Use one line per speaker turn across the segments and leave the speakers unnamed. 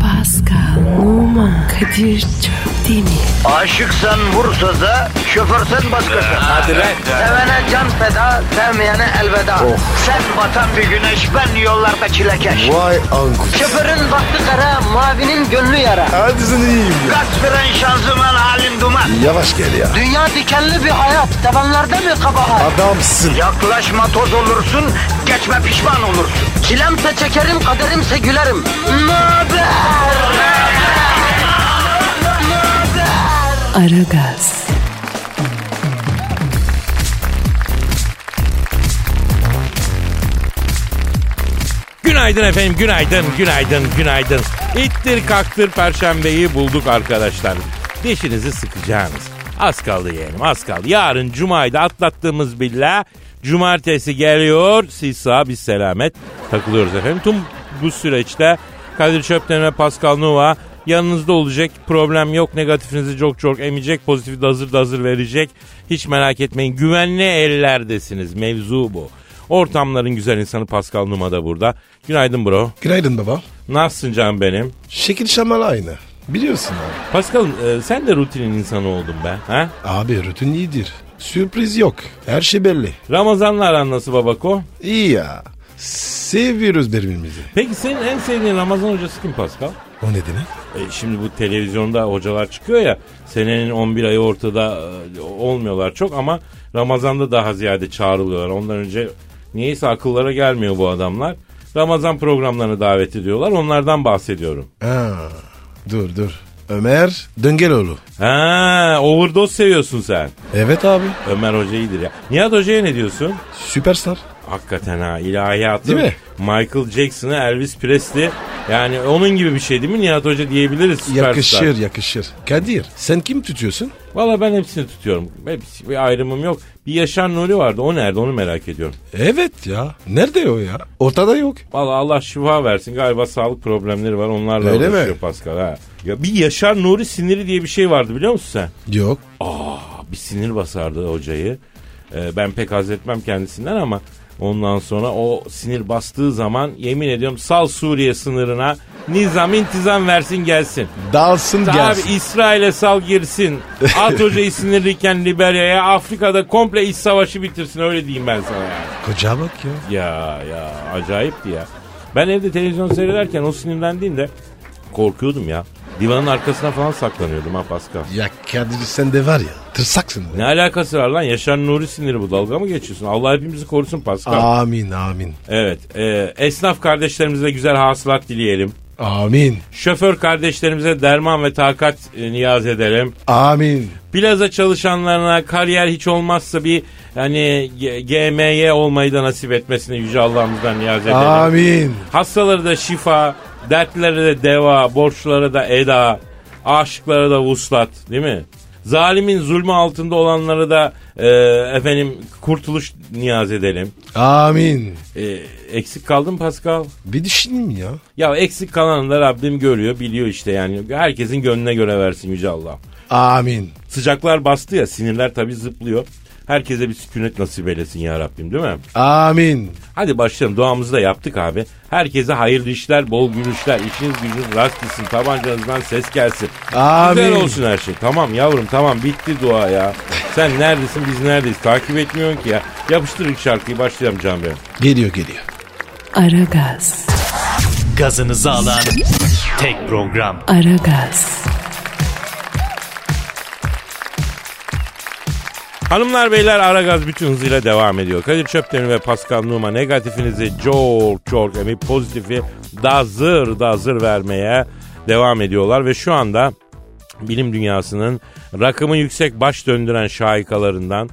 Pascal, Oman, Kadir çok değil mi?
Aşıksan vursa da, şoförsen başkasın.
Hadi lan. Oh.
Sevene can feda, sevmeyene elveda. Sen batan bir güneş, ben yollarda çilekeş.
Vay anku.
Şoförün baktı kara, mavinin gönlü yara.
Hadi sen iyiyim ya.
Kasperen şanzıman halin duman.
Yavaş gel ya.
Dünya dikenli bir hayat, sevenlerde mi kabahar?
Adamsın.
Yaklaşma toz olursun, geçme pişman olursun. Çilemse çekerim, kaderimse gülerim. Möber!
Aragaz,
Günaydın efendim, günaydın, günaydın, günaydın. İttir kaktır perşembeyi bulduk arkadaşlar. Dişinizi sıkacağınız. Az kaldı yeğenim, az kaldı. Yarın cumayı da atlattığımız billah. Cumartesi geliyor, siz sağ biz selamet. Takılıyoruz efendim. Tüm bu süreçte Kadir Çöpten ve Pascal Nova yanınızda olacak. Problem yok. Negatifinizi çok çok emecek. Pozitifi de hazır da hazır verecek. Hiç merak etmeyin. Güvenli ellerdesiniz. Mevzu bu. Ortamların güzel insanı Pascal Numa da burada. Günaydın bro.
Günaydın baba.
Nasılsın canım benim?
Şekil şamal aynı. Biliyorsun abi.
Pascal e, sen de rutinin insanı oldun be. Ha?
Abi rutin iyidir. Sürpriz yok. Her şey belli.
Ramazan'la aran nasıl babako?
İyi ya. Seviyoruz birbirimizi.
Peki senin en sevdiğin Ramazan hocası kim Pascal?
O nedeni?
E, şimdi bu televizyonda hocalar çıkıyor ya. Senenin 11 ayı ortada e, olmuyorlar çok ama Ramazan'da daha ziyade çağrılıyorlar. Ondan önce niyeyse akıllara gelmiyor bu adamlar. Ramazan programlarına davet ediyorlar. Onlardan bahsediyorum.
Ha. Dur dur. Ömer Döngeloğlu.
Ha, overdose seviyorsun sen.
Evet abi.
Ömer Hoca iyidir ya. Nihat Hoca'ya ne diyorsun?
Süperstar.
Hakikaten ha ilahiyatı.
Değil mi?
Michael Jackson'ı Elvis Presley. Yani onun gibi bir şey değil mi Nihat Hoca diyebiliriz. süperstar.
Yakışır yakışır. Kadir sen kim tutuyorsun?
Valla ben hepsini tutuyorum. Hepsi, bir ayrımım yok. Bir Yaşar Nuri vardı. O nerede onu merak ediyorum.
Evet ya. Nerede o ya? Ortada yok.
Valla Allah şifa versin. Galiba sağlık problemleri var. Onlarla
Öyle mi?
uğraşıyor Pascal ha. Ya bir Yaşar Nuri siniri diye bir şey vardı biliyor musun sen?
Yok.
bir sinir basardı hocayı. Ee, ben pek haz etmem kendisinden ama ondan sonra o sinir bastığı zaman yemin ediyorum sal Suriye sınırına nizam intizam versin gelsin.
Dalsın
Abi
gelsin.
İsrail'e sal girsin. At hocayı sinirliyken Liberya'ya Afrika'da komple iç savaşı bitirsin öyle diyeyim ben sana yani.
Koca bak ya.
Ya ya acayipti ya. Ben evde televizyon seyrederken o sinirlendiğimde korkuyordum ya. Divanın arkasına falan saklanıyordum ha Pascal.
Ya Kadir sen de var ya tırsaksın. be.
Ne alakası var lan? Yaşar Nuri siniri bu. Dalga mı geçiyorsun? Allah hepimizi korusun Pascal.
Amin amin.
Evet. e, esnaf kardeşlerimize güzel hasılat dileyelim.
Amin.
Şoför kardeşlerimize derman ve takat e, niyaz edelim.
Amin.
Plaza çalışanlarına kariyer hiç olmazsa bir hani G- GMY olmayı da nasip etmesini yüce Allah'ımızdan niyaz edelim.
Amin.
Hastalara da şifa, dertlere de deva, borçlara da eda, aşıklara da vuslat değil mi? Zalimin zulmü altında olanlara da e, efendim kurtuluş niyaz edelim.
Amin.
E, eksik kaldı mı Pascal?
Bir düşüneyim ya.
Ya eksik kalanı da Rabbim görüyor, biliyor işte yani. Herkesin gönlüne göre versin Yüce Allah.
Amin.
Sıcaklar bastı ya, sinirler tabii zıplıyor. Herkese bir sükunet nasip eylesin ya Rabbim değil mi?
Amin.
Hadi başlayalım. Duamızı da yaptık abi. Herkese hayırlı işler, bol gülüşler. İşiniz gücünüz rast gitsin. Tabancanızdan ses gelsin.
Amin.
Güzel olsun her şey. Tamam yavrum tamam bitti dua ya. Sen neredesin biz neredeyiz? Takip etmiyorsun ki ya. Yapıştır ilk şarkıyı başlayalım canım benim.
Geliyor geliyor.
Aragaz,
gazınızı alan tek program.
Aragaz,
Hanımlar beyler Aragaz bütün hızıyla devam ediyor. Kadir Çöptemir ve Pascal Numa negatifinizi çok çok emip pozitifi da zır da zır vermeye devam ediyorlar. Ve şu anda bilim dünyasının rakımı yüksek baş döndüren şahikalarından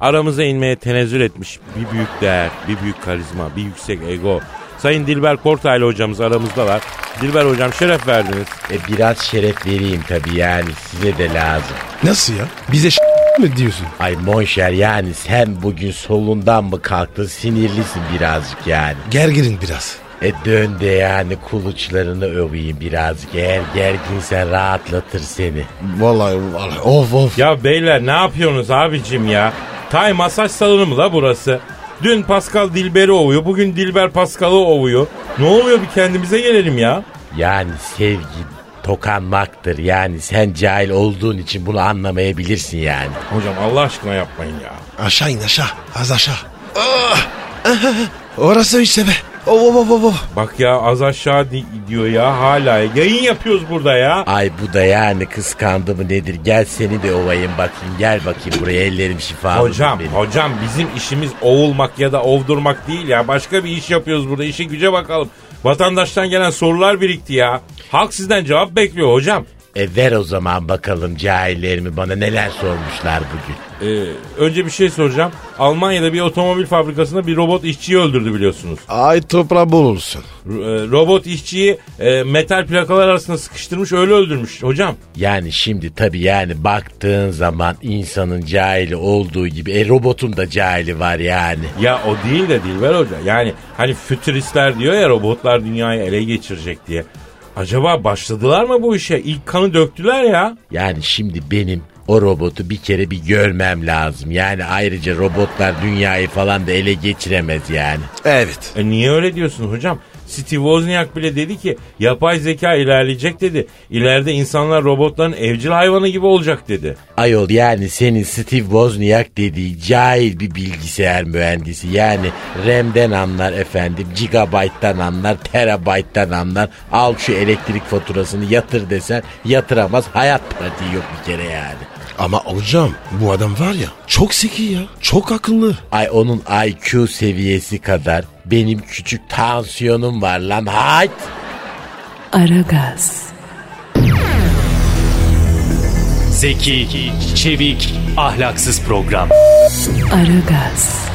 aramıza inmeye tenezzül etmiş bir büyük değer, bir büyük karizma, bir yüksek ego. Sayın Dilber Kortaylı hocamız aramızdalar. Dilber hocam şeref verdiniz.
E biraz şeref vereyim tabii yani size de lazım.
Nasıl ya? Bize ş- mi diyorsun?
Ay monşer yani sen bugün solundan mı kalktın sinirlisin birazcık yani.
Gergirin biraz.
E dön de yani kuluçlarını öveyim birazcık. Eğer gerginsen rahatlatır seni.
Vallahi vallahi. Of of.
Ya beyler ne yapıyorsunuz abicim ya? Tay masaj salonu mu la burası? Dün Pascal Dilber'i ovuyor, bugün Dilber Pascal'ı ovuyor. Ne oluyor bir kendimize gelelim ya.
Yani sevgi tokanmaktır. Yani sen cahil olduğun için bunu anlamayabilirsin yani.
Hocam Allah aşkına yapmayın ya.
Aşağı in aşağı. Az aşağı. Ah! Orası işte be. Oh, oh, oh, oh, oh.
Bak ya az aşağı di- diyor ya hala. Yayın yapıyoruz burada ya.
Ay bu da yani kıskandı mı nedir? Gel seni de ovayım bakayım. Gel bakayım buraya ellerim şifa.
Hocam, hocam bizim işimiz ovulmak ya da ovdurmak değil ya. Başka bir iş yapıyoruz burada. İşe güce bakalım. Vatandaştan gelen sorular birikti ya. Halk sizden cevap bekliyor hocam.
E ver o zaman bakalım cahillerimi bana neler sormuşlar bugün.
Ee, önce bir şey soracağım. Almanya'da bir otomobil fabrikasında bir robot işçiyi öldürdü biliyorsunuz.
Ay toprağı bol olsun.
Ro- e, robot işçiyi e, metal plakalar arasında sıkıştırmış öyle öldürmüş hocam.
Yani şimdi tabii yani baktığın zaman insanın cahili olduğu gibi e, robotun da cahili var yani.
Ya o değil de Dilber Hoca. Yani hani fütüristler diyor ya robotlar dünyayı ele geçirecek diye. Acaba başladılar mı bu işe? İlk kanı döktüler ya.
Yani şimdi benim o robotu bir kere bir görmem lazım. Yani ayrıca robotlar dünyayı falan da ele geçiremez yani.
Evet.
E niye öyle diyorsun hocam? Steve Wozniak bile dedi ki yapay zeka ilerleyecek dedi. İleride insanlar robotların evcil hayvanı gibi olacak dedi.
Ayol yani senin Steve Wozniak dediği cahil bir bilgisayar mühendisi. Yani RAM'den anlar efendim, gigabayttan anlar, terabayttan anlar. Al şu elektrik faturasını yatır desen yatıramaz. Hayat pratiği yok bir kere yani.
Ama hocam bu adam var ya çok zeki ya. Çok akıllı.
Ay onun IQ seviyesi kadar benim küçük tansiyonum var lan. Hayt!
Aragaz,
Zeki, çevik, ahlaksız program.
Aragaz,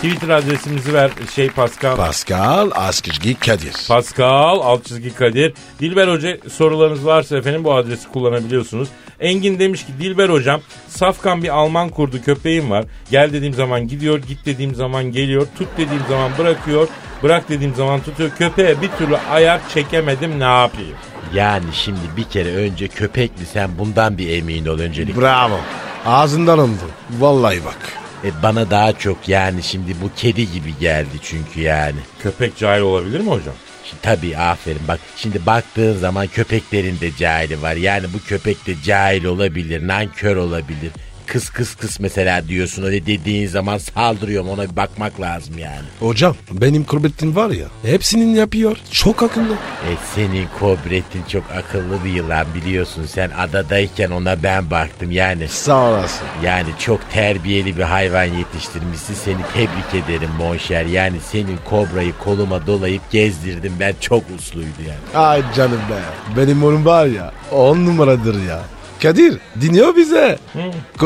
Twitter adresimizi ver şey Pascal.
Pascal Askizgi Kadir.
Pascal alt çizgi Kadir. Dilber Hoca sorularınız varsa efendim bu adresi kullanabiliyorsunuz. Engin demiş ki Dilber Hocam safkan bir Alman kurdu köpeğim var. Gel dediğim zaman gidiyor, git dediğim zaman geliyor, tut dediğim zaman bırakıyor, bırak dediğim zaman tutuyor. Köpeğe bir türlü ayar çekemedim ne yapayım?
Yani şimdi bir kere önce köpek mi sen bundan bir emin ol öncelik.
Bravo. Ağzından alındı. Vallahi bak.
E, bana daha çok yani şimdi bu kedi gibi geldi çünkü yani.
Köpek cahil olabilir mi hocam?
Şimdi Tabii aferin bak şimdi baktığın zaman köpeklerin de cahili var. Yani bu köpek de cahil olabilir, nankör olabilir. Kıs kıs kıs mesela diyorsun öyle dediğin zaman saldırıyorum ona bir bakmak lazım yani.
Hocam benim kurbetim var ya hepsinin yapıyor. Çok akıllı.
E senin kobretin çok akıllı bir yılan biliyorsun sen adadayken ona ben baktım yani.
Sağ olasın.
Yani çok terbiyeli bir hayvan yetiştirmişsin. Seni tebrik ederim Monşer. Yani senin kobrayı koluma dolayıp gezdirdim. Ben çok usluydu yani.
Ay canım be. Benim oğlum var ya on numaradır ya. Kadir dinliyor bize.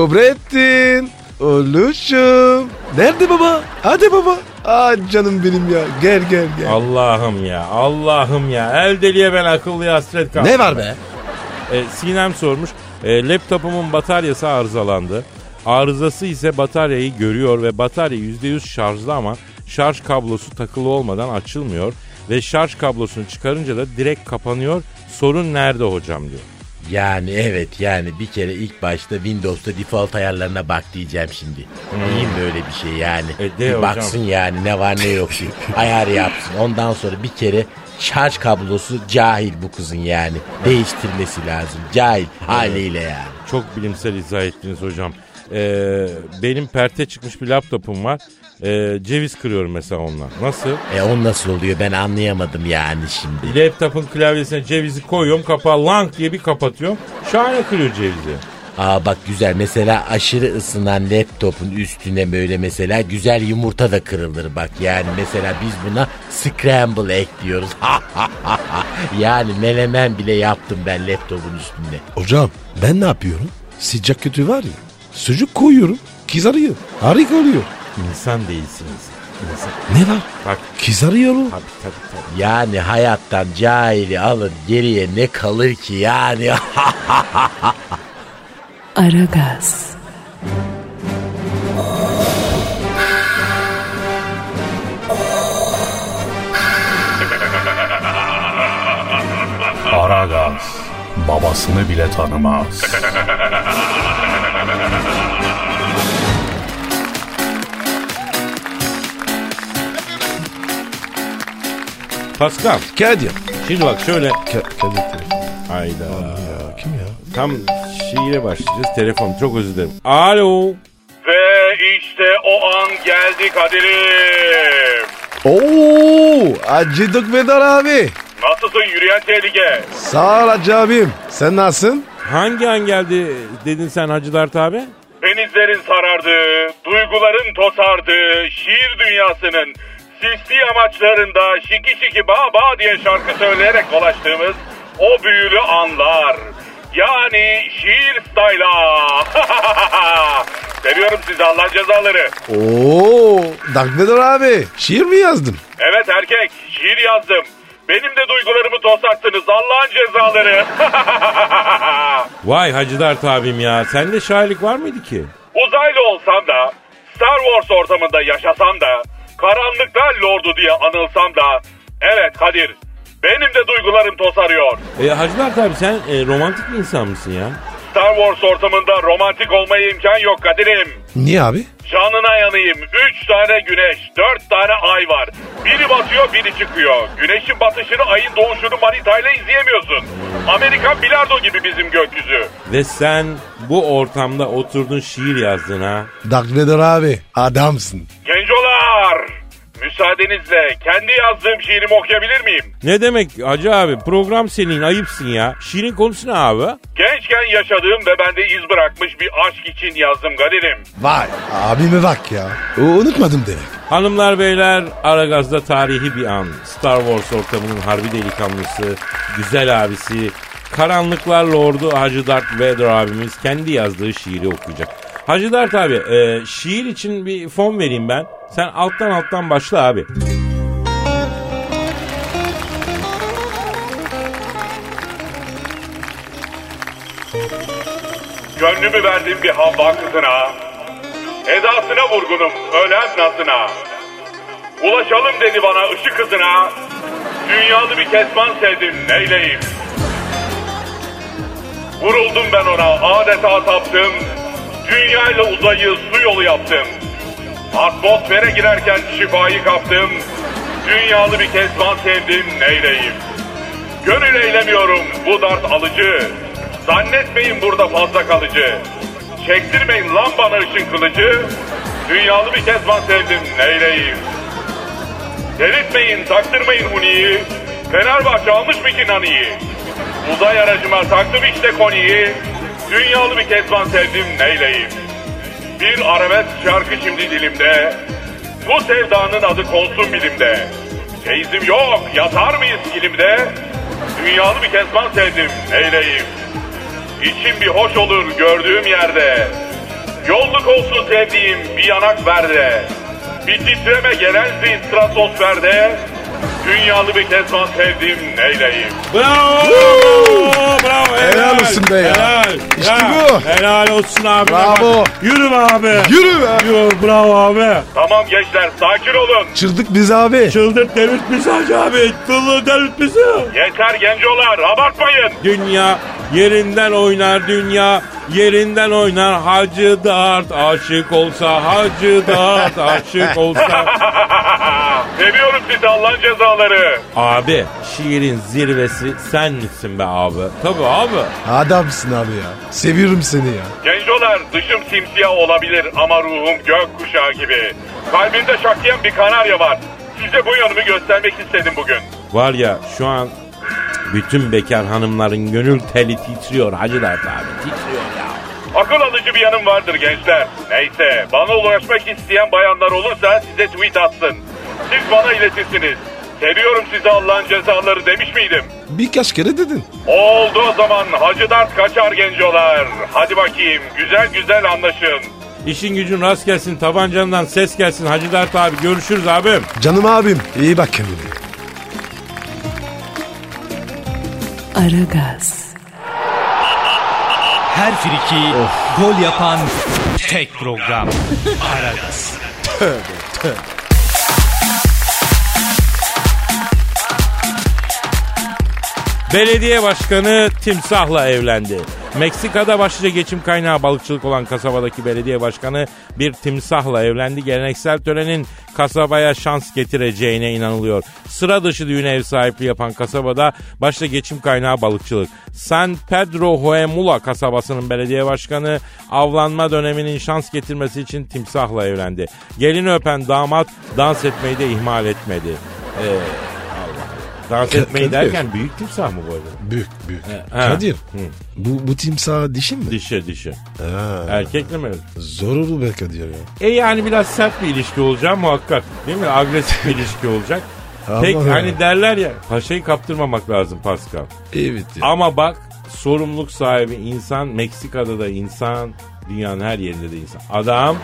Kobrettin. Oluşum. Nerede baba? Hadi baba. Ay canım benim ya. Gel gel gel.
Allah'ım ya, Allah'ım ya. El deliye ben akıllıya hasret kaldım.
ne var be?
E, Sinem sormuş. E, laptopumun bataryası arızalandı. Arızası ise bataryayı görüyor ve batarya %100 şarjlı ama şarj kablosu takılı olmadan açılmıyor. Ve şarj kablosunu çıkarınca da direkt kapanıyor. Sorun nerede hocam diyor.
Yani evet yani bir kere ilk başta Windows'ta default ayarlarına bak diyeceğim şimdi. İyi mi öyle bir şey yani?
Hmm. E, de
bir
hocam.
baksın yani ne var ne yok diye. Ayar yapsın. Ondan sonra bir kere şarj kablosu cahil bu kızın yani. Değiştirmesi lazım. Cahil haliyle yani.
Çok bilimsel izah ettiniz hocam. E, benim perte çıkmış bir laptopum var. E, ceviz kırıyorum mesela onunla. Nasıl?
E o nasıl oluyor ben anlayamadım yani şimdi.
Laptopun klavyesine cevizi koyuyorum kapağı lang diye bir kapatıyorum. Şahane kırıyor cevizi.
Aa bak güzel mesela aşırı ısınan laptopun üstüne böyle mesela güzel yumurta da kırılır bak yani mesela biz buna scramble egg diyoruz. yani melemen bile yaptım ben laptopun üstünde.
Hocam ben ne yapıyorum? Sıcak kötü var ya. Sucuk koyuyorum. Kızarıyor. Harika oluyor.
İnsan değilsiniz. İnsan.
Ne var?
Bak
Kızarıyor o.
tabii tabii tabii.
Yani hayattan cahili alın geriye ne kalır ki yani.
Aragaz,
Aragaz babasını bile tanımaz.
Pascal
Kadir.
şimdi bak şöyle.
Ka- Kadir telefon.
Hayda.
Ya kim ya?
Tam şiire başlayacağız. Telefon çok özür dilerim. Alo.
Ve işte o an geldi Kadir'im.
Oo, Hacı Dükvedar abi.
Nasılsın yürüyen tehlike?
Sağ ol Hacı abim. Sen nasılsın?
Hangi an geldi dedin sen Hacı Dert abi?
Denizlerin sarardı, duyguların tosardı, e, şiir dünyasının sisli amaçlarında şiki şiki ba ba diye şarkı söyleyerek dolaştığımız o büyülü anlar. Yani şiir style'a. Seviyorum sizi Allah cezaları.
Oo, Dükvedar abi. Şiir mi yazdın?
Evet erkek şiir yazdım. Benim de duygularımı tosarttınız Allah'ın cezaları.
Vay Hacı Dert abim ya. Sende şairlik var mıydı ki?
Uzaylı olsam da, Star Wars ortamında yaşasam da, karanlıklar lordu diye anılsam da, evet Kadir, benim de duygularım tosarıyor.
E, Hacı Dert abi sen e, romantik bir insan mısın ya?
Star Wars ortamında romantik olmaya imkan yok Kadir'im.
Niye abi?
Canına yanayım. Üç tane güneş, dört tane ay var. Biri batıyor, biri çıkıyor. Güneşin batışını, ayın doğuşunu manitayla izleyemiyorsun. Amerikan bilardo gibi bizim gökyüzü.
Ve sen bu ortamda oturdun şiir yazdın ha.
Dükvedar abi. Adamsın.
Gencolar! Müsaadenizle kendi yazdığım şiirimi okuyabilir miyim?
Ne demek Hacı abi program senin ayıpsın ya. Şiirin konusu ne abi?
Gençken yaşadığım ve bende iz bırakmış bir aşk için yazdım Kadir'im.
Vay. Abime bak ya. O, unutmadım demek.
Hanımlar beyler Aragaz'da tarihi bir an. Star Wars ortamının harbi delikanlısı, güzel abisi, karanlıklar lordu Hacı Dert Vader abimiz kendi yazdığı şiiri okuyacak. Hacı Dert abi e, şiir için bir fon vereyim ben. Sen alttan alttan başla abi.
Gönlümü verdim bir hava kızına. Edasına vurgunum ölen nazına. Ulaşalım dedi bana ışık hızına. Dünyalı bir kesman sevdim neyleyim. Vuruldum ben ona adeta taptım. Dünyayla uzayı su yolu yaptım. Atmosfere girerken şifayı kaptım. Dünyalı bir kesman sevdim neyleyim. Gönül eylemiyorum bu dert alıcı. Zannetmeyin burada fazla kalıcı. Çektirmeyin lan bana ışın kılıcı. Dünyalı bir kez ben sevdim neyleyim. Delirtmeyin taktırmayın Huni'yi. Fenerbahçe almış mı ki Nani'yi? Uzay aracıma taktım işte Koni'yi. Dünyalı bir kez ben sevdim neyleyim. Bir arabesk şarkı şimdi dilimde. Bu sevdanın adı konsun bilimde. Teyzim yok, yatar mıyız ilimde? Dünyalı bir kezban sevdim, neyleyim? İçim bir hoş olur gördüğüm yerde. Yolluk olsun sevdiğim bir yanak verde. Bir titreme gelensin stratosferde. Dünyalı bir kezban sevdim, neyleyim?
Bravo! Bravo!
Helal olsun be ya.
Helal.
İşte
Ya,
bu.
Helal olsun abi.
Bravo.
Yürü be abi.
Yürü be.
Yürü, bravo abi.
Tamam gençler sakin olun.
Çırdık biz abi.
Çıldırt devlet bizi hacı abi. Çıldırt devlet bizi.
Yeter gencolar abartmayın.
Dünya yerinden oynar dünya yerinden oynar Hacı Dert aşık olsa Hacı Dert aşık olsa
Seviyorum sizi Allah'ın cezaları.
Abi şiirin zirvesi sen misin be abi Tabi abi
Adamsın abi ya. Seviyorum seni ya.
Gencolar dışım simsiyah olabilir ama ruhum gök kuşağı gibi. Kalbimde şaklayan bir kanarya var. Size bu yanımı göstermek istedim bugün.
Var ya şu an bütün bekar hanımların gönül teli titriyor Hacı Dert abi titriyor ya
Akıl alıcı bir yanım vardır gençler. Neyse bana ulaşmak isteyen bayanlar olursa size tweet atsın. Siz bana iletirsiniz. Seviyorum sizi Allah'ın cezaları demiş miydim?
Birkaç kere dedin.
Oldu o zaman Hacı Dert kaçar gencolar. Hadi bakayım güzel güzel anlaşın.
İşin gücün rast gelsin tabancandan ses gelsin Hacı Dert abi görüşürüz abim
Canım abim. iyi bak kendine.
Aragaz,
Her friki gol yapan tek program. Aragaz.
Belediye başkanı timsahla evlendi. Meksika'da başlıca geçim kaynağı balıkçılık olan kasabadaki belediye başkanı bir timsahla evlendi. Geleneksel törenin kasabaya şans getireceğine inanılıyor. Sıra dışı düğüne ev sahipliği yapan kasabada başta geçim kaynağı balıkçılık. San Pedro Huemula kasabasının belediye başkanı avlanma döneminin şans getirmesi için timsahla evlendi. Gelini öpen damat dans etmeyi de ihmal etmedi. Ee, Allah. Dans etmeyi
Kadir.
derken büyük timsah mı bu arada?
Büyük büyük.
ha.
Kadir bu, bu timsah dişin mi?
Dişi dişi.
Ha.
Erkekle mi?
Zor olur be Kadir ya.
E yani biraz sert bir ilişki olacak muhakkak. Değil mi? Agresif bir ilişki olacak. Tek
Aman
hani
ya.
derler ya paşayı kaptırmamak lazım Pascal.
Evet ya.
Ama bak sorumluluk sahibi insan Meksika'da da insan dünyanın her yerinde de insan. Adam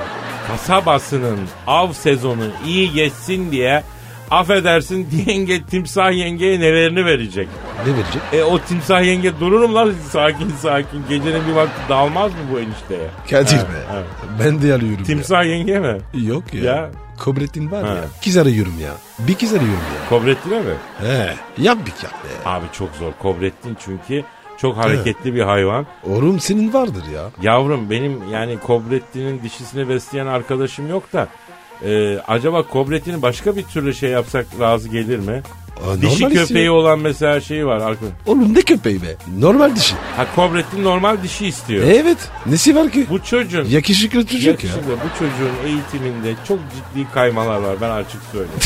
kasabasının av sezonu iyi geçsin diye affedersin yenge timsah yengeye nelerini verecek.
Ne verecek?
E o timsah yenge dururum lan sakin sakin gecenin bir vakti dalmaz mı bu enişteye?
Kadir
Ha,
be.
ha.
Ben de alıyorum
Timsah yenge mi?
ya. Yok ya.
Ya.
Kobrettin var
Ha.
ya. Kız arıyorum ya. Bir kız arıyorum ya.
Kobrettin'e mi?
He. Yap bir yap be.
Abi çok zor. Kobrettin çünkü çok hareketli bir hayvan.
Oğlum senin vardır ya.
Yavrum benim yani Kobrettin'in dişisini besleyen arkadaşım yok da e, acaba Kobrettin'i başka bir türlü şey yapsak razı gelir mi?
Aa,
Dişi
E, normal
köpeği
istiyor.
olan mesela şeyi var. arkadaş.
Oğlum ne köpeği be? Normal dişi.
Ha Kobrettin normal dişi istiyor.
Evet. Nesi var ki?
Bu çocuğun
Yakışıklı çocuk ya.
yakışında, bu çocuğun eğitiminde çok ciddi kaymalar var ben açık söyleyeyim.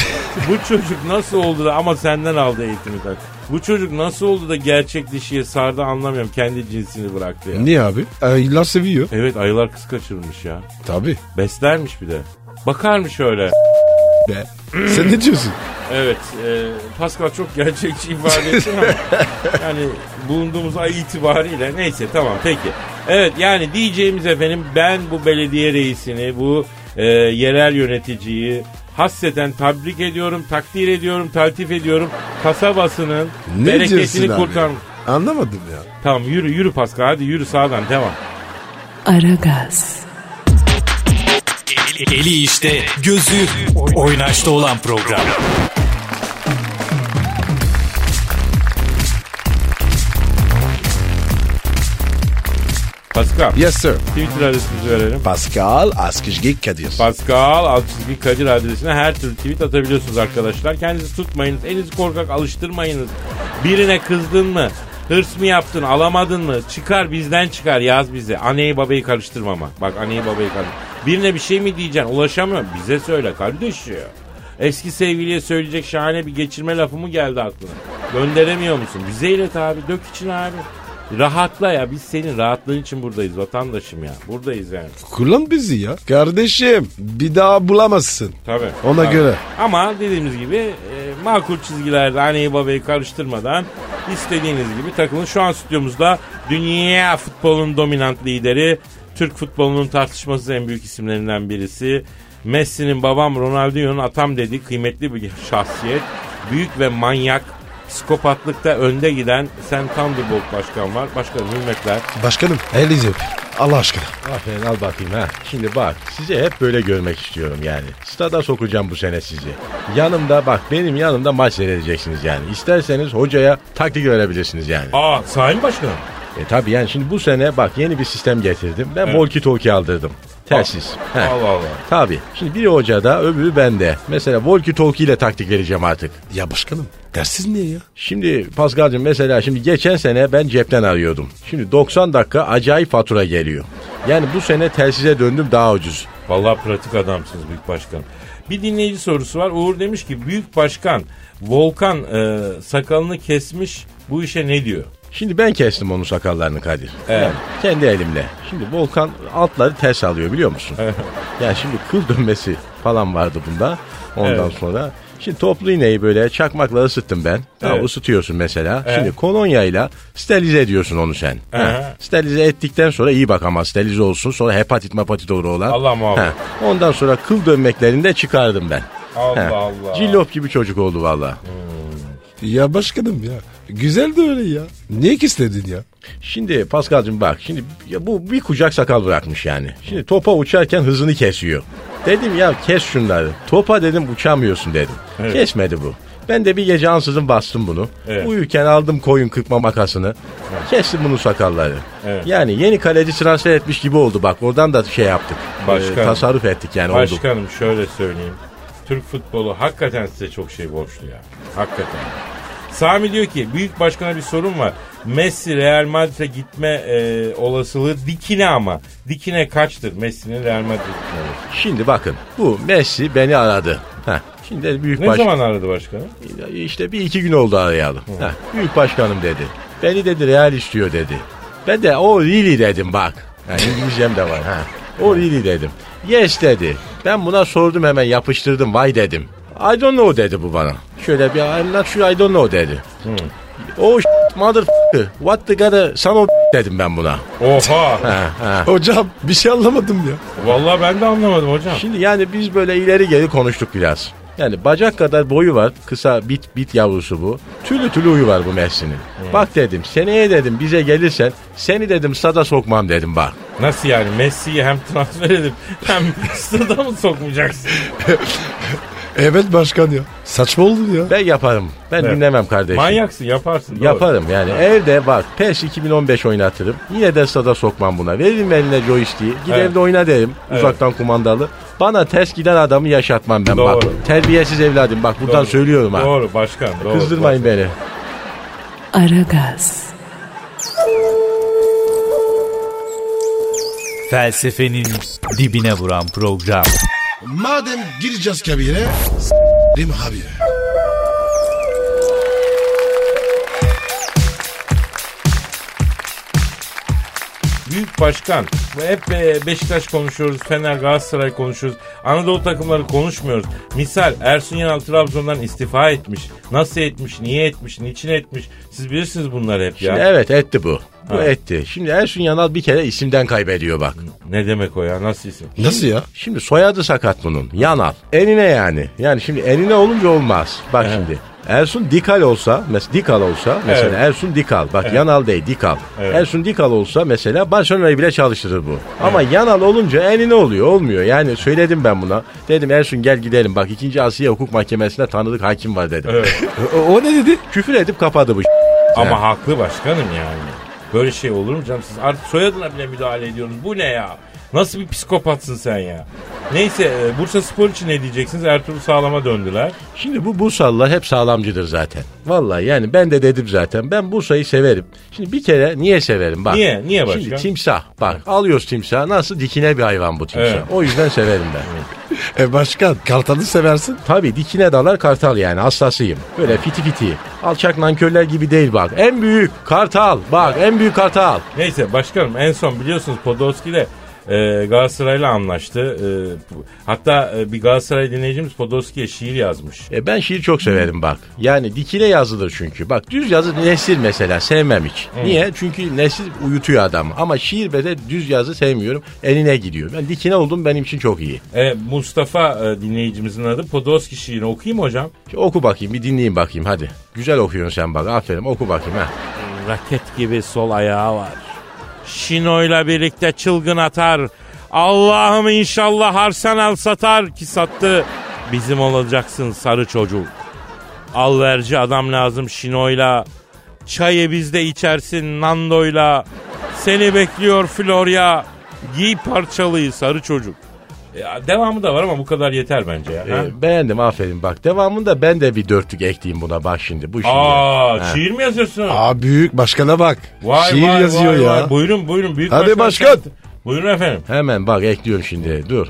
bu çocuk nasıl oldu da ama senden aldı eğitimi. tabii. Bu çocuk nasıl oldu da gerçek dişiye sardı anlamıyorum. Kendi cinsini bıraktı ya.
Niye abi? Ayılar seviyor.
Evet ayılar kız kaçırmış ya.
Tabii.
Beslermiş bir de. Bakarmış öyle.
Be.
Hmm.
Sen ne diyorsun?
Evet. E, Pascal çok gerçekçi ifade etti ama yani bulunduğumuz ay itibariyle neyse tamam peki. Evet yani diyeceğimiz efendim ben bu belediye reisini bu e, yerel yöneticiyi hasreten tebrik ediyorum, takdir ediyorum, taltif ediyorum. Kasabasının
Ne diyorsun
bereketini
abi?
kurtar.
Anlamadım ya.
Tamam yürü yürü Pascal hadi yürü sağdan devam.
Aragaz,
Eli, eli işte, gözü oynaşta olan program.
Pascal
Yes sir.
Twitter adresimizi verelim.
Pascal Askizgi Kadir.
Pascal alt çizgi Kadir adresine her türlü tweet atabiliyorsunuz arkadaşlar. Kendinizi tutmayınız, elinizi korkak alıştırmayınız. Birine kızdın mı? Hırs mı yaptın, alamadın mı? Çıkar bizden çıkar yaz bize. Anneyi babayı karıştırmama. Bak anneyi babayı karıştırma. Birine bir şey mi diyeceksin ulaşamıyorum. Bize söyle kardeş ya. Eski sevgiliye söyleyecek şahane bir geçirme lafı mı geldi aklına? Gönderemiyor musun? Bize ilet abi, dök için abi. Rahatla ya biz senin rahatlığın için buradayız vatandaşım ya. Buradayız yani.
Kullan bizi ya. Kardeşim bir daha bulamazsın.
Tabii.
Ona
Tabii.
göre.
Ama dediğimiz gibi e, makul çizgilerde anneyi babayı karıştırmadan istediğiniz gibi takılın. Şu an stüdyomuzda dünya futbolunun dominant lideri, Türk futbolunun tartışmasız en büyük isimlerinden birisi. Messi'nin babam Ronaldinho'nun atam dediği kıymetli bir şahsiyet. Büyük ve manyak, psikopatlıkta önde giden Sam Thunderbolt başkan var. Başkanım hürmetler.
Başkanım elinizi öp. Allah aşkına.
Aferin al bakayım ha. Şimdi bak sizi hep böyle görmek istiyorum yani. Stada sokacağım bu sene sizi. Yanımda bak benim yanımda maç seyredeceksiniz yani. İsterseniz hocaya taktik verebilirsiniz yani.
Aa sahi mi başkanım?
E tabi yani şimdi bu sene bak yeni bir sistem getirdim. Ben walkie talkie aldırdım. Telsiz. Heh.
Allah Allah.
Tabi. Şimdi biri hocada öbürü bende. Mesela walkie talkie ile taktik vereceğim artık.
Ya başkanım dersiz niye ya?
Şimdi Paskal'cığım mesela şimdi geçen sene ben cepten arıyordum. Şimdi 90 dakika acayip fatura geliyor. Yani bu sene telsize döndüm daha ucuz.
Vallahi pratik adamsınız büyük başkan. Bir dinleyici sorusu var. Uğur demiş ki büyük başkan Volkan e, sakalını kesmiş bu işe ne diyor?
Şimdi ben kestim onun sakallarını Kadir.
Evet.
Yani kendi elimle. Şimdi Volkan altları ters alıyor biliyor musun? yani şimdi kıl dönmesi falan vardı bunda. Ondan
Evet.
sonra Şimdi toplu iğneyi böyle çakmakla ısıttım ben. Tamam,
Evet.
ısıtıyorsun mesela.
Evet.
Şimdi kolonyayla sterilize ediyorsun onu sen. Ha, Sterilize ettikten sonra iyi bak ama sterilize olsun. Sonra hepatit mapatit olur olan.
Allah muhafaza.
Ha, Ondan sonra kıl dönmeklerini de çıkardım ben.
Allah
Ha,
Allah.
Cillop gibi çocuk oldu valla.
Ya başkanım ya. Güzel de öyle ya. Niye ki istedin ya?
Şimdi Paskal'cığım bak şimdi ya bu bir kucak sakal bırakmış yani. Şimdi topa uçarken hızını kesiyor. Dedim ya kes şunları. Topa dedim uçamıyorsun dedim. Kesmedi bu. Ben de bir gece ansızın bastım bunu.
Evet.
Uyurken aldım koyun kırpma makasını. Kestim bunun sakalları.
Evet.
Yani yeni kaleci transfer etmiş gibi oldu bak. Oradan da şey yaptık.
Başkan.
Ee, tasarruf ettik yani oldu.
Başkanım şöyle söyleyeyim. Türk futbolu hakikaten size çok şey borçlu ya. Hakikaten. Sami diyor ki büyük başkana bir sorun var. Messi Real Madrid'e gitme e, olasılığı dikine ama. Dikine kaçtır Messi'nin Real Madrid'e gitme olasılığı?
Şimdi bakın bu Messi beni aradı. Heh. Şimdi büyük
Ne
baş...
zaman aradı başkanım?
İşte bir iki gün oldu arayalım. Heh, büyük başkanım dedi. Beni dedi real istiyor dedi. Ben de o really dedim bak. Ha, İngilizcem de var. Ha. O really dedim. Yes dedi. Ben buna sordum hemen yapıştırdım vay dedim. I don't know dedi bu bana. Şöyle bir I'm not sure I don't know dedi. O mother what the gotta son of dedim ben buna.
Oha!
Ha, ha.
Hocam bir şey anlamadım ya.
Vallahi ben de anlamadım hocam.
Şimdi yani biz böyle ileri geri konuştuk biraz. Yani bacak kadar boyu var. Kısa bit bit yavrusu bu. Tülü tülü uyu var bu Mersin'in. Bak dedim seneye dedim bize gelirsen seni dedim sada sokmam dedim bak.
Nasıl yani Messi'yi hem transfer edip hem stada mı sokmayacaksın?
Evet başkan ya. Saçma oldu ya.
Ben yaparım. Ben
Evet.
dinlemem kardeşim.
Manyaksın yaparsın. doğru.
Yaparım yani E, evde bak PES 2015 oynatırım. Yine de sada sokmam buna. Veririm eline joystick'i. Git
Evet.
evde oyna derim.
Evet.
Uzaktan kumandalı. Bana ters giden adamı yaşatmam ben bak.
Doğru.
Terbiyesiz evladım bak buradan
Doğru.
söylüyorum ha.
Doğru başkan doğru.
Kızdırmayın beni.
Aragaz,
Felsefenin dibine vuran program.
Madem gireceğiz kabire. Rim abi.
Büyük başkan. Hep e, Beşiktaş konuşuyoruz, Fener, Galatasaray konuşuyoruz. Anadolu takımları konuşmuyoruz. Misal Ersun Yanal Trabzon'dan istifa etmiş. Nasıl etmiş, niye etmiş, niçin etmiş? Siz bilirsiniz bunları hep ya.
Şimdi evet etti bu. Bu
Ha.
etti. Şimdi Ersun Yanal bir kere isimden kaybediyor bak.
Ne demek o ya? Nasıl isim?
Nasıl ya?
Şimdi soyadı sakat bunun. Yanal. Enine yani. Yani şimdi enine olunca olmaz. Bak şimdi. Ersun Dikal olsa, mesela Dikal olsa mesela
Evet.
Ersun Dikal. Bak Yanal değil Dikal.
Evet.
Ersun Dikal olsa mesela Barcelona'yı bile çalıştırır bu. Ama Yanal olunca enine oluyor. Olmuyor. Yani söyledim ben buna. Dedim Ersun gel gidelim. Bak 2. Asya Hukuk Mahkemesi'nde tanıdık hakim var dedim.
Evet.
O, o ne dedi?
Küfür edip kapadı bu.
Ama haklı başkanım yani. Böyle şey olur mu canım? Siz artık soyadına bile müdahale ediyorsunuz. Bu ne ya? Nasıl bir psikopatsın sen ya? Neyse e, Bursa Spor için ne diyeceksiniz? Ertuğrul Sağlam'a döndüler.
Şimdi bu Bursalılar hep sağlamcıdır zaten. Vallahi yani ben de dedim zaten. Ben Bursa'yı severim. Şimdi bir kere niye severim bak.
Niye? Niye başkan?
Şimdi timsah bak alıyoruz timsah nasıl dikine bir hayvan bu timsah.
Evet.
O yüzden severim ben.
E başkan kartalı seversin.
Tabii dikine dalar kartal yani hastasıyım. Böyle fiti fiti. Alçak nankörler gibi değil bak. En büyük kartal bak en büyük kartal.
Neyse başkanım en son biliyorsunuz Podolski ile e, Galatasaray'la anlaştı. E, bu- hatta e, bir Galatasaray dinleyicimiz Podolski'ye şiir yazmış.
E ben şiir çok severim bak. Yani dikine yazılır çünkü. Bak düz yazı nesir mesela sevmem hiç. Niye? Çünkü nesir uyutuyor adamı. Ama şiir ve de düz yazı sevmiyorum. Eline gidiyor. Ben dikine oldum benim için çok iyi.
E, Mustafa e, dinleyicimizin adı Podolski şiirini okuyayım mı hocam.
Şimdi oku bakayım bir dinleyeyim bakayım hadi. Güzel okuyorsun sen bak aferin oku bakayım ha.
Raket gibi sol ayağı var. Şino'yla birlikte çılgın atar. Allah'ım inşallah Arsenal satar ki sattı. Bizim olacaksın sarı çocuk. Alverci adam lazım Şino'yla. Çayı bizde içersin Nando'yla. Seni bekliyor Florya. Giy parçalıyı sarı çocuk. Ya, devamı da var ama bu kadar yeter bence ya. ha?
Ee, beğendim aferin bak. Devamında ben de bir dörtlük ekleyeyim buna bak şimdi. Bu şimdi.
Aa,
Ha.
şiir mi yazıyorsun?
Aa büyük başkana bak. Şiir yazıyor
vay,
ya.
vay. Buyurun buyurun. Büyük
Hadi başkan.
Buyurun efendim.
Hemen bak ekliyorum şimdi dur.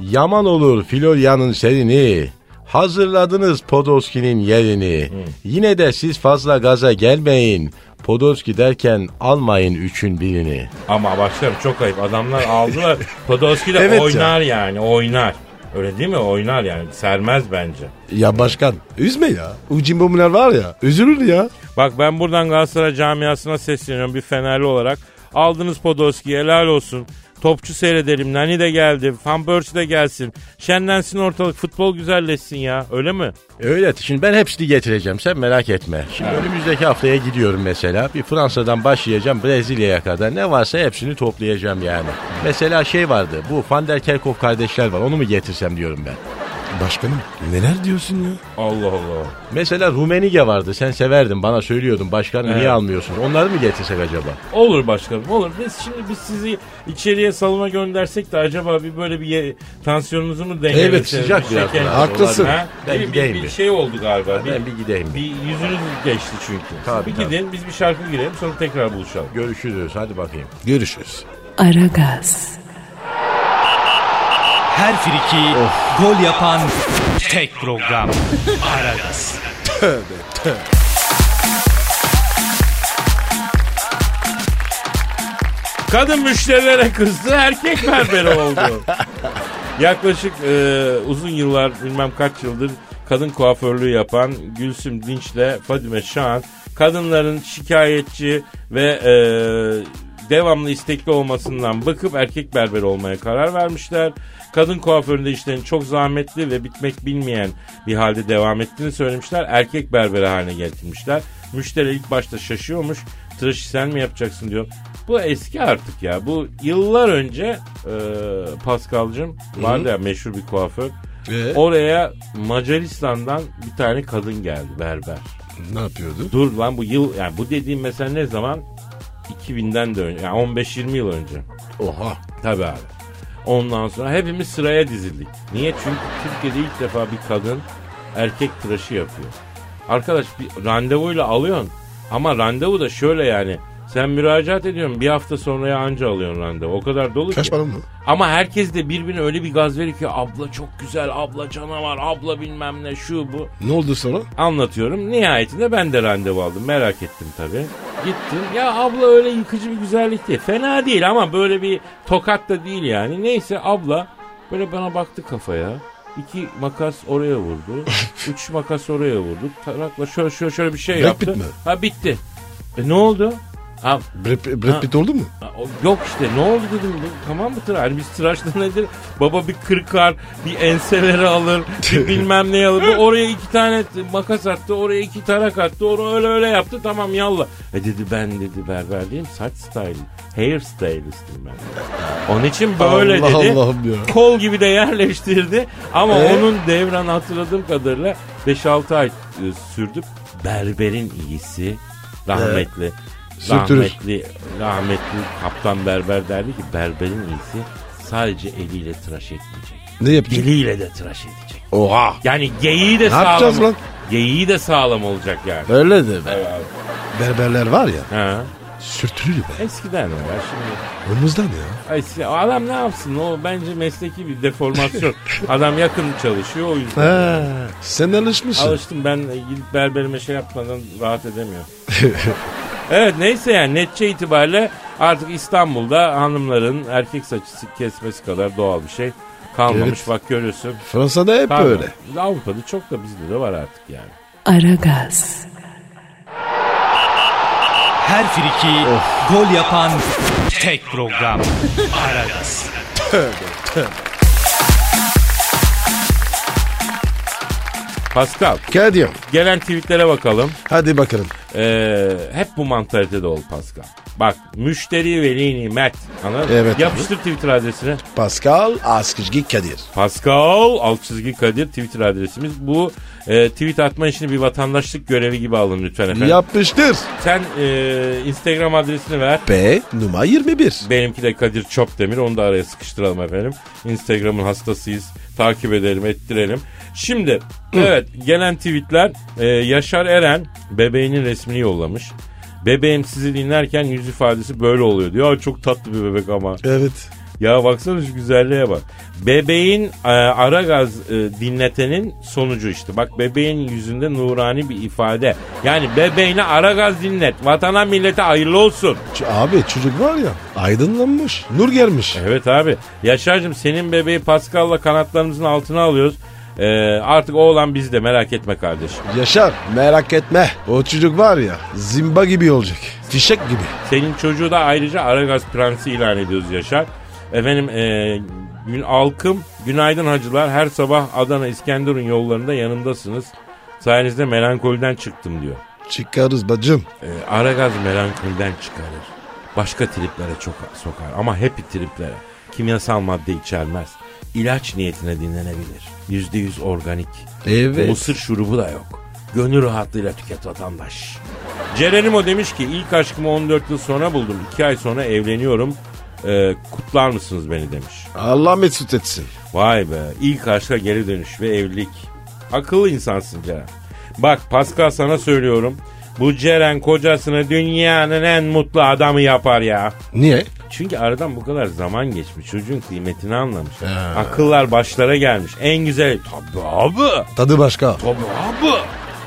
Yaman olur Florya'nın serini. Hazırladınız Podolski'nin yerini. Yine de siz fazla gaza gelmeyin. Podolski derken almayın üçün birini.
Ama başlarım çok ayıp. Adamlar aldılar. Podolski de
Evet ya.
oynar yani oynar. Öyle değil mi? Oynar yani. Sermez bence.
Ya başkan üzme ya. Ucimbomlar var ya üzülür ya.
Bak ben buradan Galatasaray camiasına sesleniyorum bir Fenerli olarak. Aldınız Podolski'yi helal olsun. Topçu seyredelim. Nani de geldi. Fanbörs de gelsin. Şenlensin ortalık. Futbol güzelleşsin ya. Öyle mi?
Öyle şimdi ben hepsini getireceğim sen merak etme. Şimdi önümüzdeki haftaya gidiyorum mesela. Bir Fransa'dan başlayacağım Brezilya'ya kadar. Ne varsa hepsini toplayacağım yani. Mesela şey vardı bu Van der Kerkhoff kardeşler var onu mu getirsem diyorum ben.
Başkanım neler diyorsun ya?
Allah Allah.
Mesela Rumeniye vardı. Sen severdin bana söylüyordun. Başkanım niye almıyorsunuz? Onları mı getirsek acaba?
Olur başkanım olur. Biz şimdi biz sizi içeriye salona göndersek de acaba bir böyle bir ye- tansiyonunuzu mu dengelesek?
Evet, sıcak biraz
Şeker-
daha.
Haklısın.
şey Ha?
Ben
Bir- bir,
gideyim
bir
bir.
şey oldu galiba.
Ben bir gideyim bir.
Bir yüzünüz geçti çünkü.
Tabii,
bir
tabii.
gidelim biz bir şarkı girelim sonra tekrar buluşalım.
Görüşürüz. Hadi bakayım.
Görüşürüz.
Aragaz,
Her friki gol yapan tek program. Aragaz.
Kadın müşterilere kızdı, erkek berberi oldu. Yaklaşık e, uzun yıllar, bilmem kaç yıldır kadın kuaförlüğü yapan Gülsüm Dinç'le Fadime Şahan, kadınların şikayetçi ve e, devamlı istekli olmasından bakıp erkek berberi olmaya karar vermişler. Kadın kuaföründe işlerin çok zahmetli ve bitmek bilmeyen bir halde devam ettiğini söylemişler. Erkek berberi haline getirmişler. Müşteri ilk başta şaşıyormuş. Tıraşı sen mi yapacaksın diyor. Bu eski artık ya. Bu yıllar önce e, Pascal'cığım vardı ya meşhur bir kuaför.
Ee?
Oraya Macaristan'dan bir tane kadın geldi berber.
Ne yapıyordu?
Dur lan bu yıl yani bu dediğim mesela ne zaman? 2000'den de önce yani 15-20 yıl önce.
Oha.
Tabii abi. Ondan sonra hepimiz sıraya dizildik. Niye? Çünkü Türkiye'de ilk defa bir kadın erkek tıraşı yapıyor. Arkadaş bir randevuyla alıyorsun. Ama randevu da şöyle yani. Sen müracaat ediyorsun bir hafta sonraya anca alıyorsun randevu. O kadar dolu ki.
Kaçmadın mı?
Ama herkes de birbirine öyle bir gaz veriyor ki abla çok güzel, abla canavar, abla bilmem ne şu bu
Ne oldu sonra?
anlatıyorum. Nihayetinde ben de randevu aldım. Merak ettim tabii. Gittim. Ya abla öyle yıkıcı bir güzellik değil. Fena değil ama böyle bir tokat da değil yani. Neyse abla böyle bana baktı kafaya. İki makas oraya vurdu. üç makas oraya vurdu. Tarakla şöyle şöyle, şöyle bir şey
Brad
yaptı.
Pitt mi?
Ha bitti. E, ne oldu? Ha,
Brad, Brad Pitt oldu mu?
Ha, o- Yok işte ne oldu dedim bu tamam mı tıraş? Hani biz tıraşta nedir? Baba bir kırkar, bir enseleri alır, bir bilmem ne alır. Bu oraya iki tane t- makas attı, oraya iki tarak attı, onu öyle öyle yaptı tamam yallah. E dedi ben dedi berber değilim saç style, hair stylistim ben. Onun için böyle
Allah
dedi.
Allah'ım ya.
Kol gibi de yerleştirdi ama
Ee?
onun devran hatırladığım kadarıyla 5-6 ay e, sürdü. Berberin iyisi rahmetli.
Sürtürür.
Rahmetli, rahmetli kaptan berber derdi ki berberin iyisi sadece eliyle tıraş etmeyecek.
Ne yapacak?
Diliyle de tıraş edecek.
Oha.
Yani geyiği de sağlam.
yapacağız lan?
Geyiği de sağlam olacak yani.
Öyle de be. Berberler var ya
Ha.
sürtülür be.
Eskiden var şimdi.
Omuzdan ya.
Ay, si- adam ne yapsın o bence mesleki bir deformasyon. adam yakın çalışıyor o yüzden.
Ha, sen alışmışsın.
Alıştım ben gidip berberime şey yapmadan rahat edemiyorum. evet neyse yani netçe itibariyle artık İstanbul'da hanımların erkek saçısı kesmesi kadar doğal bir şey kalmamış.
Evet.
Bak görüyorsun.
Fransa'da hep
Pardon.
öyle.
Avrupa'da çok da bizde de var artık yani.
Aragaz,
Her friki gol yapan tek program. Aragaz.
Pascal
Kadir
gelen tweetlere bakalım.
hadi bakalım.
Ee, hep bu mantalitede ol Pascal. Bak müşteri veli nimet. Anladın? mı?
Evet.
Yapıştır Twitter adresine.
Pascal Askışgi Kadir.
Pascal alt çizgi Kadir Twitter adresimiz. Bu e, tweet atma işini bir vatandaşlık görevi gibi alın lütfen efendim.
Yapıştır.
Sen e, Instagram adresini ver.
P numara 21.
Benimki de Kadir Çopdemir. Onu da araya sıkıştıralım efendim. Instagram'ın hastasıyız. Takip edelim, ettirelim. Şimdi evet gelen tweetler e, Yaşar Eren bebeğinin resmini yollamış. Bebeğim sizi dinlerken yüz ifadesi böyle oluyor diyor. Aa, çok tatlı bir bebek ama.
Evet.
Ya baksana şu güzelliğe bak. Bebeğin e, ara gaz e, dinletenin sonucu işte. Bak bebeğin yüzünde nurani bir ifade. Yani bebeğine ara gaz dinlet. Vatana millete hayırlı olsun.
Ç- abi çocuk var ya aydınlanmış. Nur gelmiş.
Evet abi. Yaşar'cığım senin bebeği Pascal'la kanatlarımızın altına alıyoruz. E, artık o olan bizde merak etme kardeşim.
Yaşar merak etme. O çocuk var ya zimba gibi olacak. Fişek gibi.
Senin çocuğu da ayrıca Aragaz Prensi ilan ediyoruz Yaşar. Efendim e, gün halkım günaydın hacılar her sabah Adana İskenderun yollarında yanımdasınız. Sayenizde melankoliden çıktım diyor.
Çıkarız bacım.
E, Aragaz melankoliden çıkarır. Başka triplere çok sokar ama happy triplere. Kimyasal madde içermez. ilaç niyetine dinlenebilir. Yüzde yüz organik.
Evet.
Mısır şurubu da yok. Gönül rahatlığıyla tüket vatandaş. Cerenimo demiş ki ilk aşkımı 14 yıl sonra buldum. 2 ay sonra evleniyorum. Ee, kutlar mısınız beni demiş.
Allah mesut etsin.
Vay be ilk aşka geri dönüş ve evlilik. Akıllı insansın Ceren. Bak Pascal sana söylüyorum. Bu Ceren kocasını dünyanın en mutlu adamı yapar ya.
Niye?
Çünkü aradan bu kadar zaman geçmiş. Çocuğun kıymetini anlamış. Akıllar başlara gelmiş. En güzel. Tabii abi.
Tadı başka.
Tabii abi.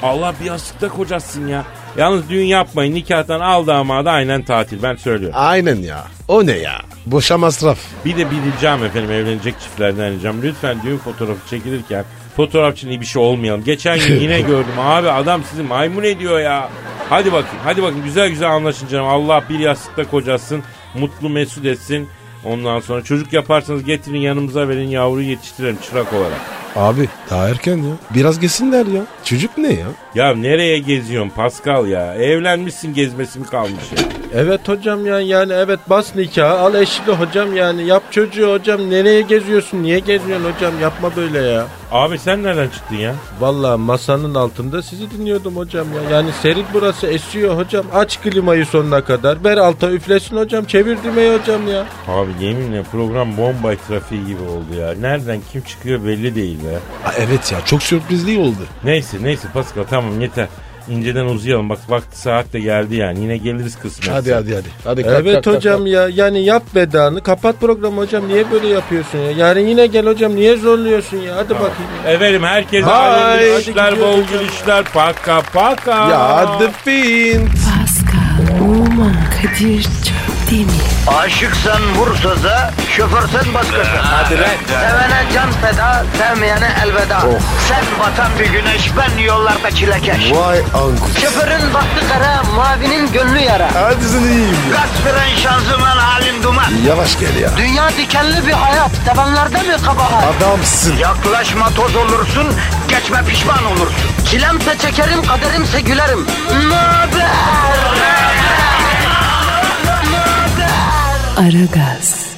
Allah bir yastıkta kocasın ya. Yalnız düğün yapmayın. Nikahtan al damadı aynen tatil. Ben söylüyorum.
Aynen ya. O ne ya? Boşa masraf.
Bir de bir ricam efendim evlenecek çiftlerden ricam. Lütfen düğün fotoğrafı çekilirken fotoğrafçının iyi bir şey olmayalım. Geçen gün yine gördüm abi adam sizi maymun ediyor ya. Hadi bakayım hadi bakın güzel güzel anlaşın canım. Allah bir yastıkta kocasın. Mutlu mesut etsin. Ondan sonra çocuk yaparsanız getirin yanımıza verin yavruyu yetiştirelim çırak olarak.
Abi daha erken ya. Biraz geçsinler ya. Çocuk ne ya?
Ya nereye geziyorsun Pascal ya? Evlenmişsin gezmesi mi kalmış ya?
Evet hocam yani yani evet bas nikahı al eşli hocam yani yap çocuğu hocam nereye geziyorsun niye geziyorsun hocam yapma böyle ya.
Abi sen nereden çıktın ya?
Vallahi masanın altında sizi dinliyordum hocam ya. Yani serin burası esiyor hocam. Aç klimayı sonuna kadar. Ver alta üflesin hocam. Çevir düğmeyi hocam ya.
Abi yeminle program bombay trafiği gibi oldu ya. Nereden kim çıkıyor belli değil be.
Aa, evet ya çok sürprizli oldu.
Neyse neyse Pascal tamam yeter. İnceden uzayalım bak vakti saat de geldi yani yine geliriz kısmet.
Hadi hadi hadi. hadi kalk,
Evet
kalk, kalk,
hocam
kalk.
ya. Yani yap vedanı. Kapat programı hocam. Niye böyle yapıyorsun ya? Yarın yine gel hocam. Niye zorluyorsun ya? Hadi bakayım.
Efendim herkese
Bye.
hayırlı
Hadi
işler
gidiyoruz
bol
hocam.
gülüşler paka paka.
Ya The Fiend.
Pascal, Oman, Kadir çok değil mi?
Aşıksan vursa da, şoförsen başkasın. Hadi Sevene can feda, sevmeyene elveda. Sen batan bir güneş, ben yollarda çilekeş.
Vay anku.
Şoförün baktı kara, mavinin gönlü yara.
Hadi sen iyiyim ya.
Kasperen şanzıman halin duman.
Yavaş gel ya.
Dünya dikenli bir hayat, sevenlerde mi kabahar?
Adamsın.
Yaklaşma toz olursun, geçme pişman olursun. Çilemse çekerim, kaderimse gülerim. Möber!
Aragaz.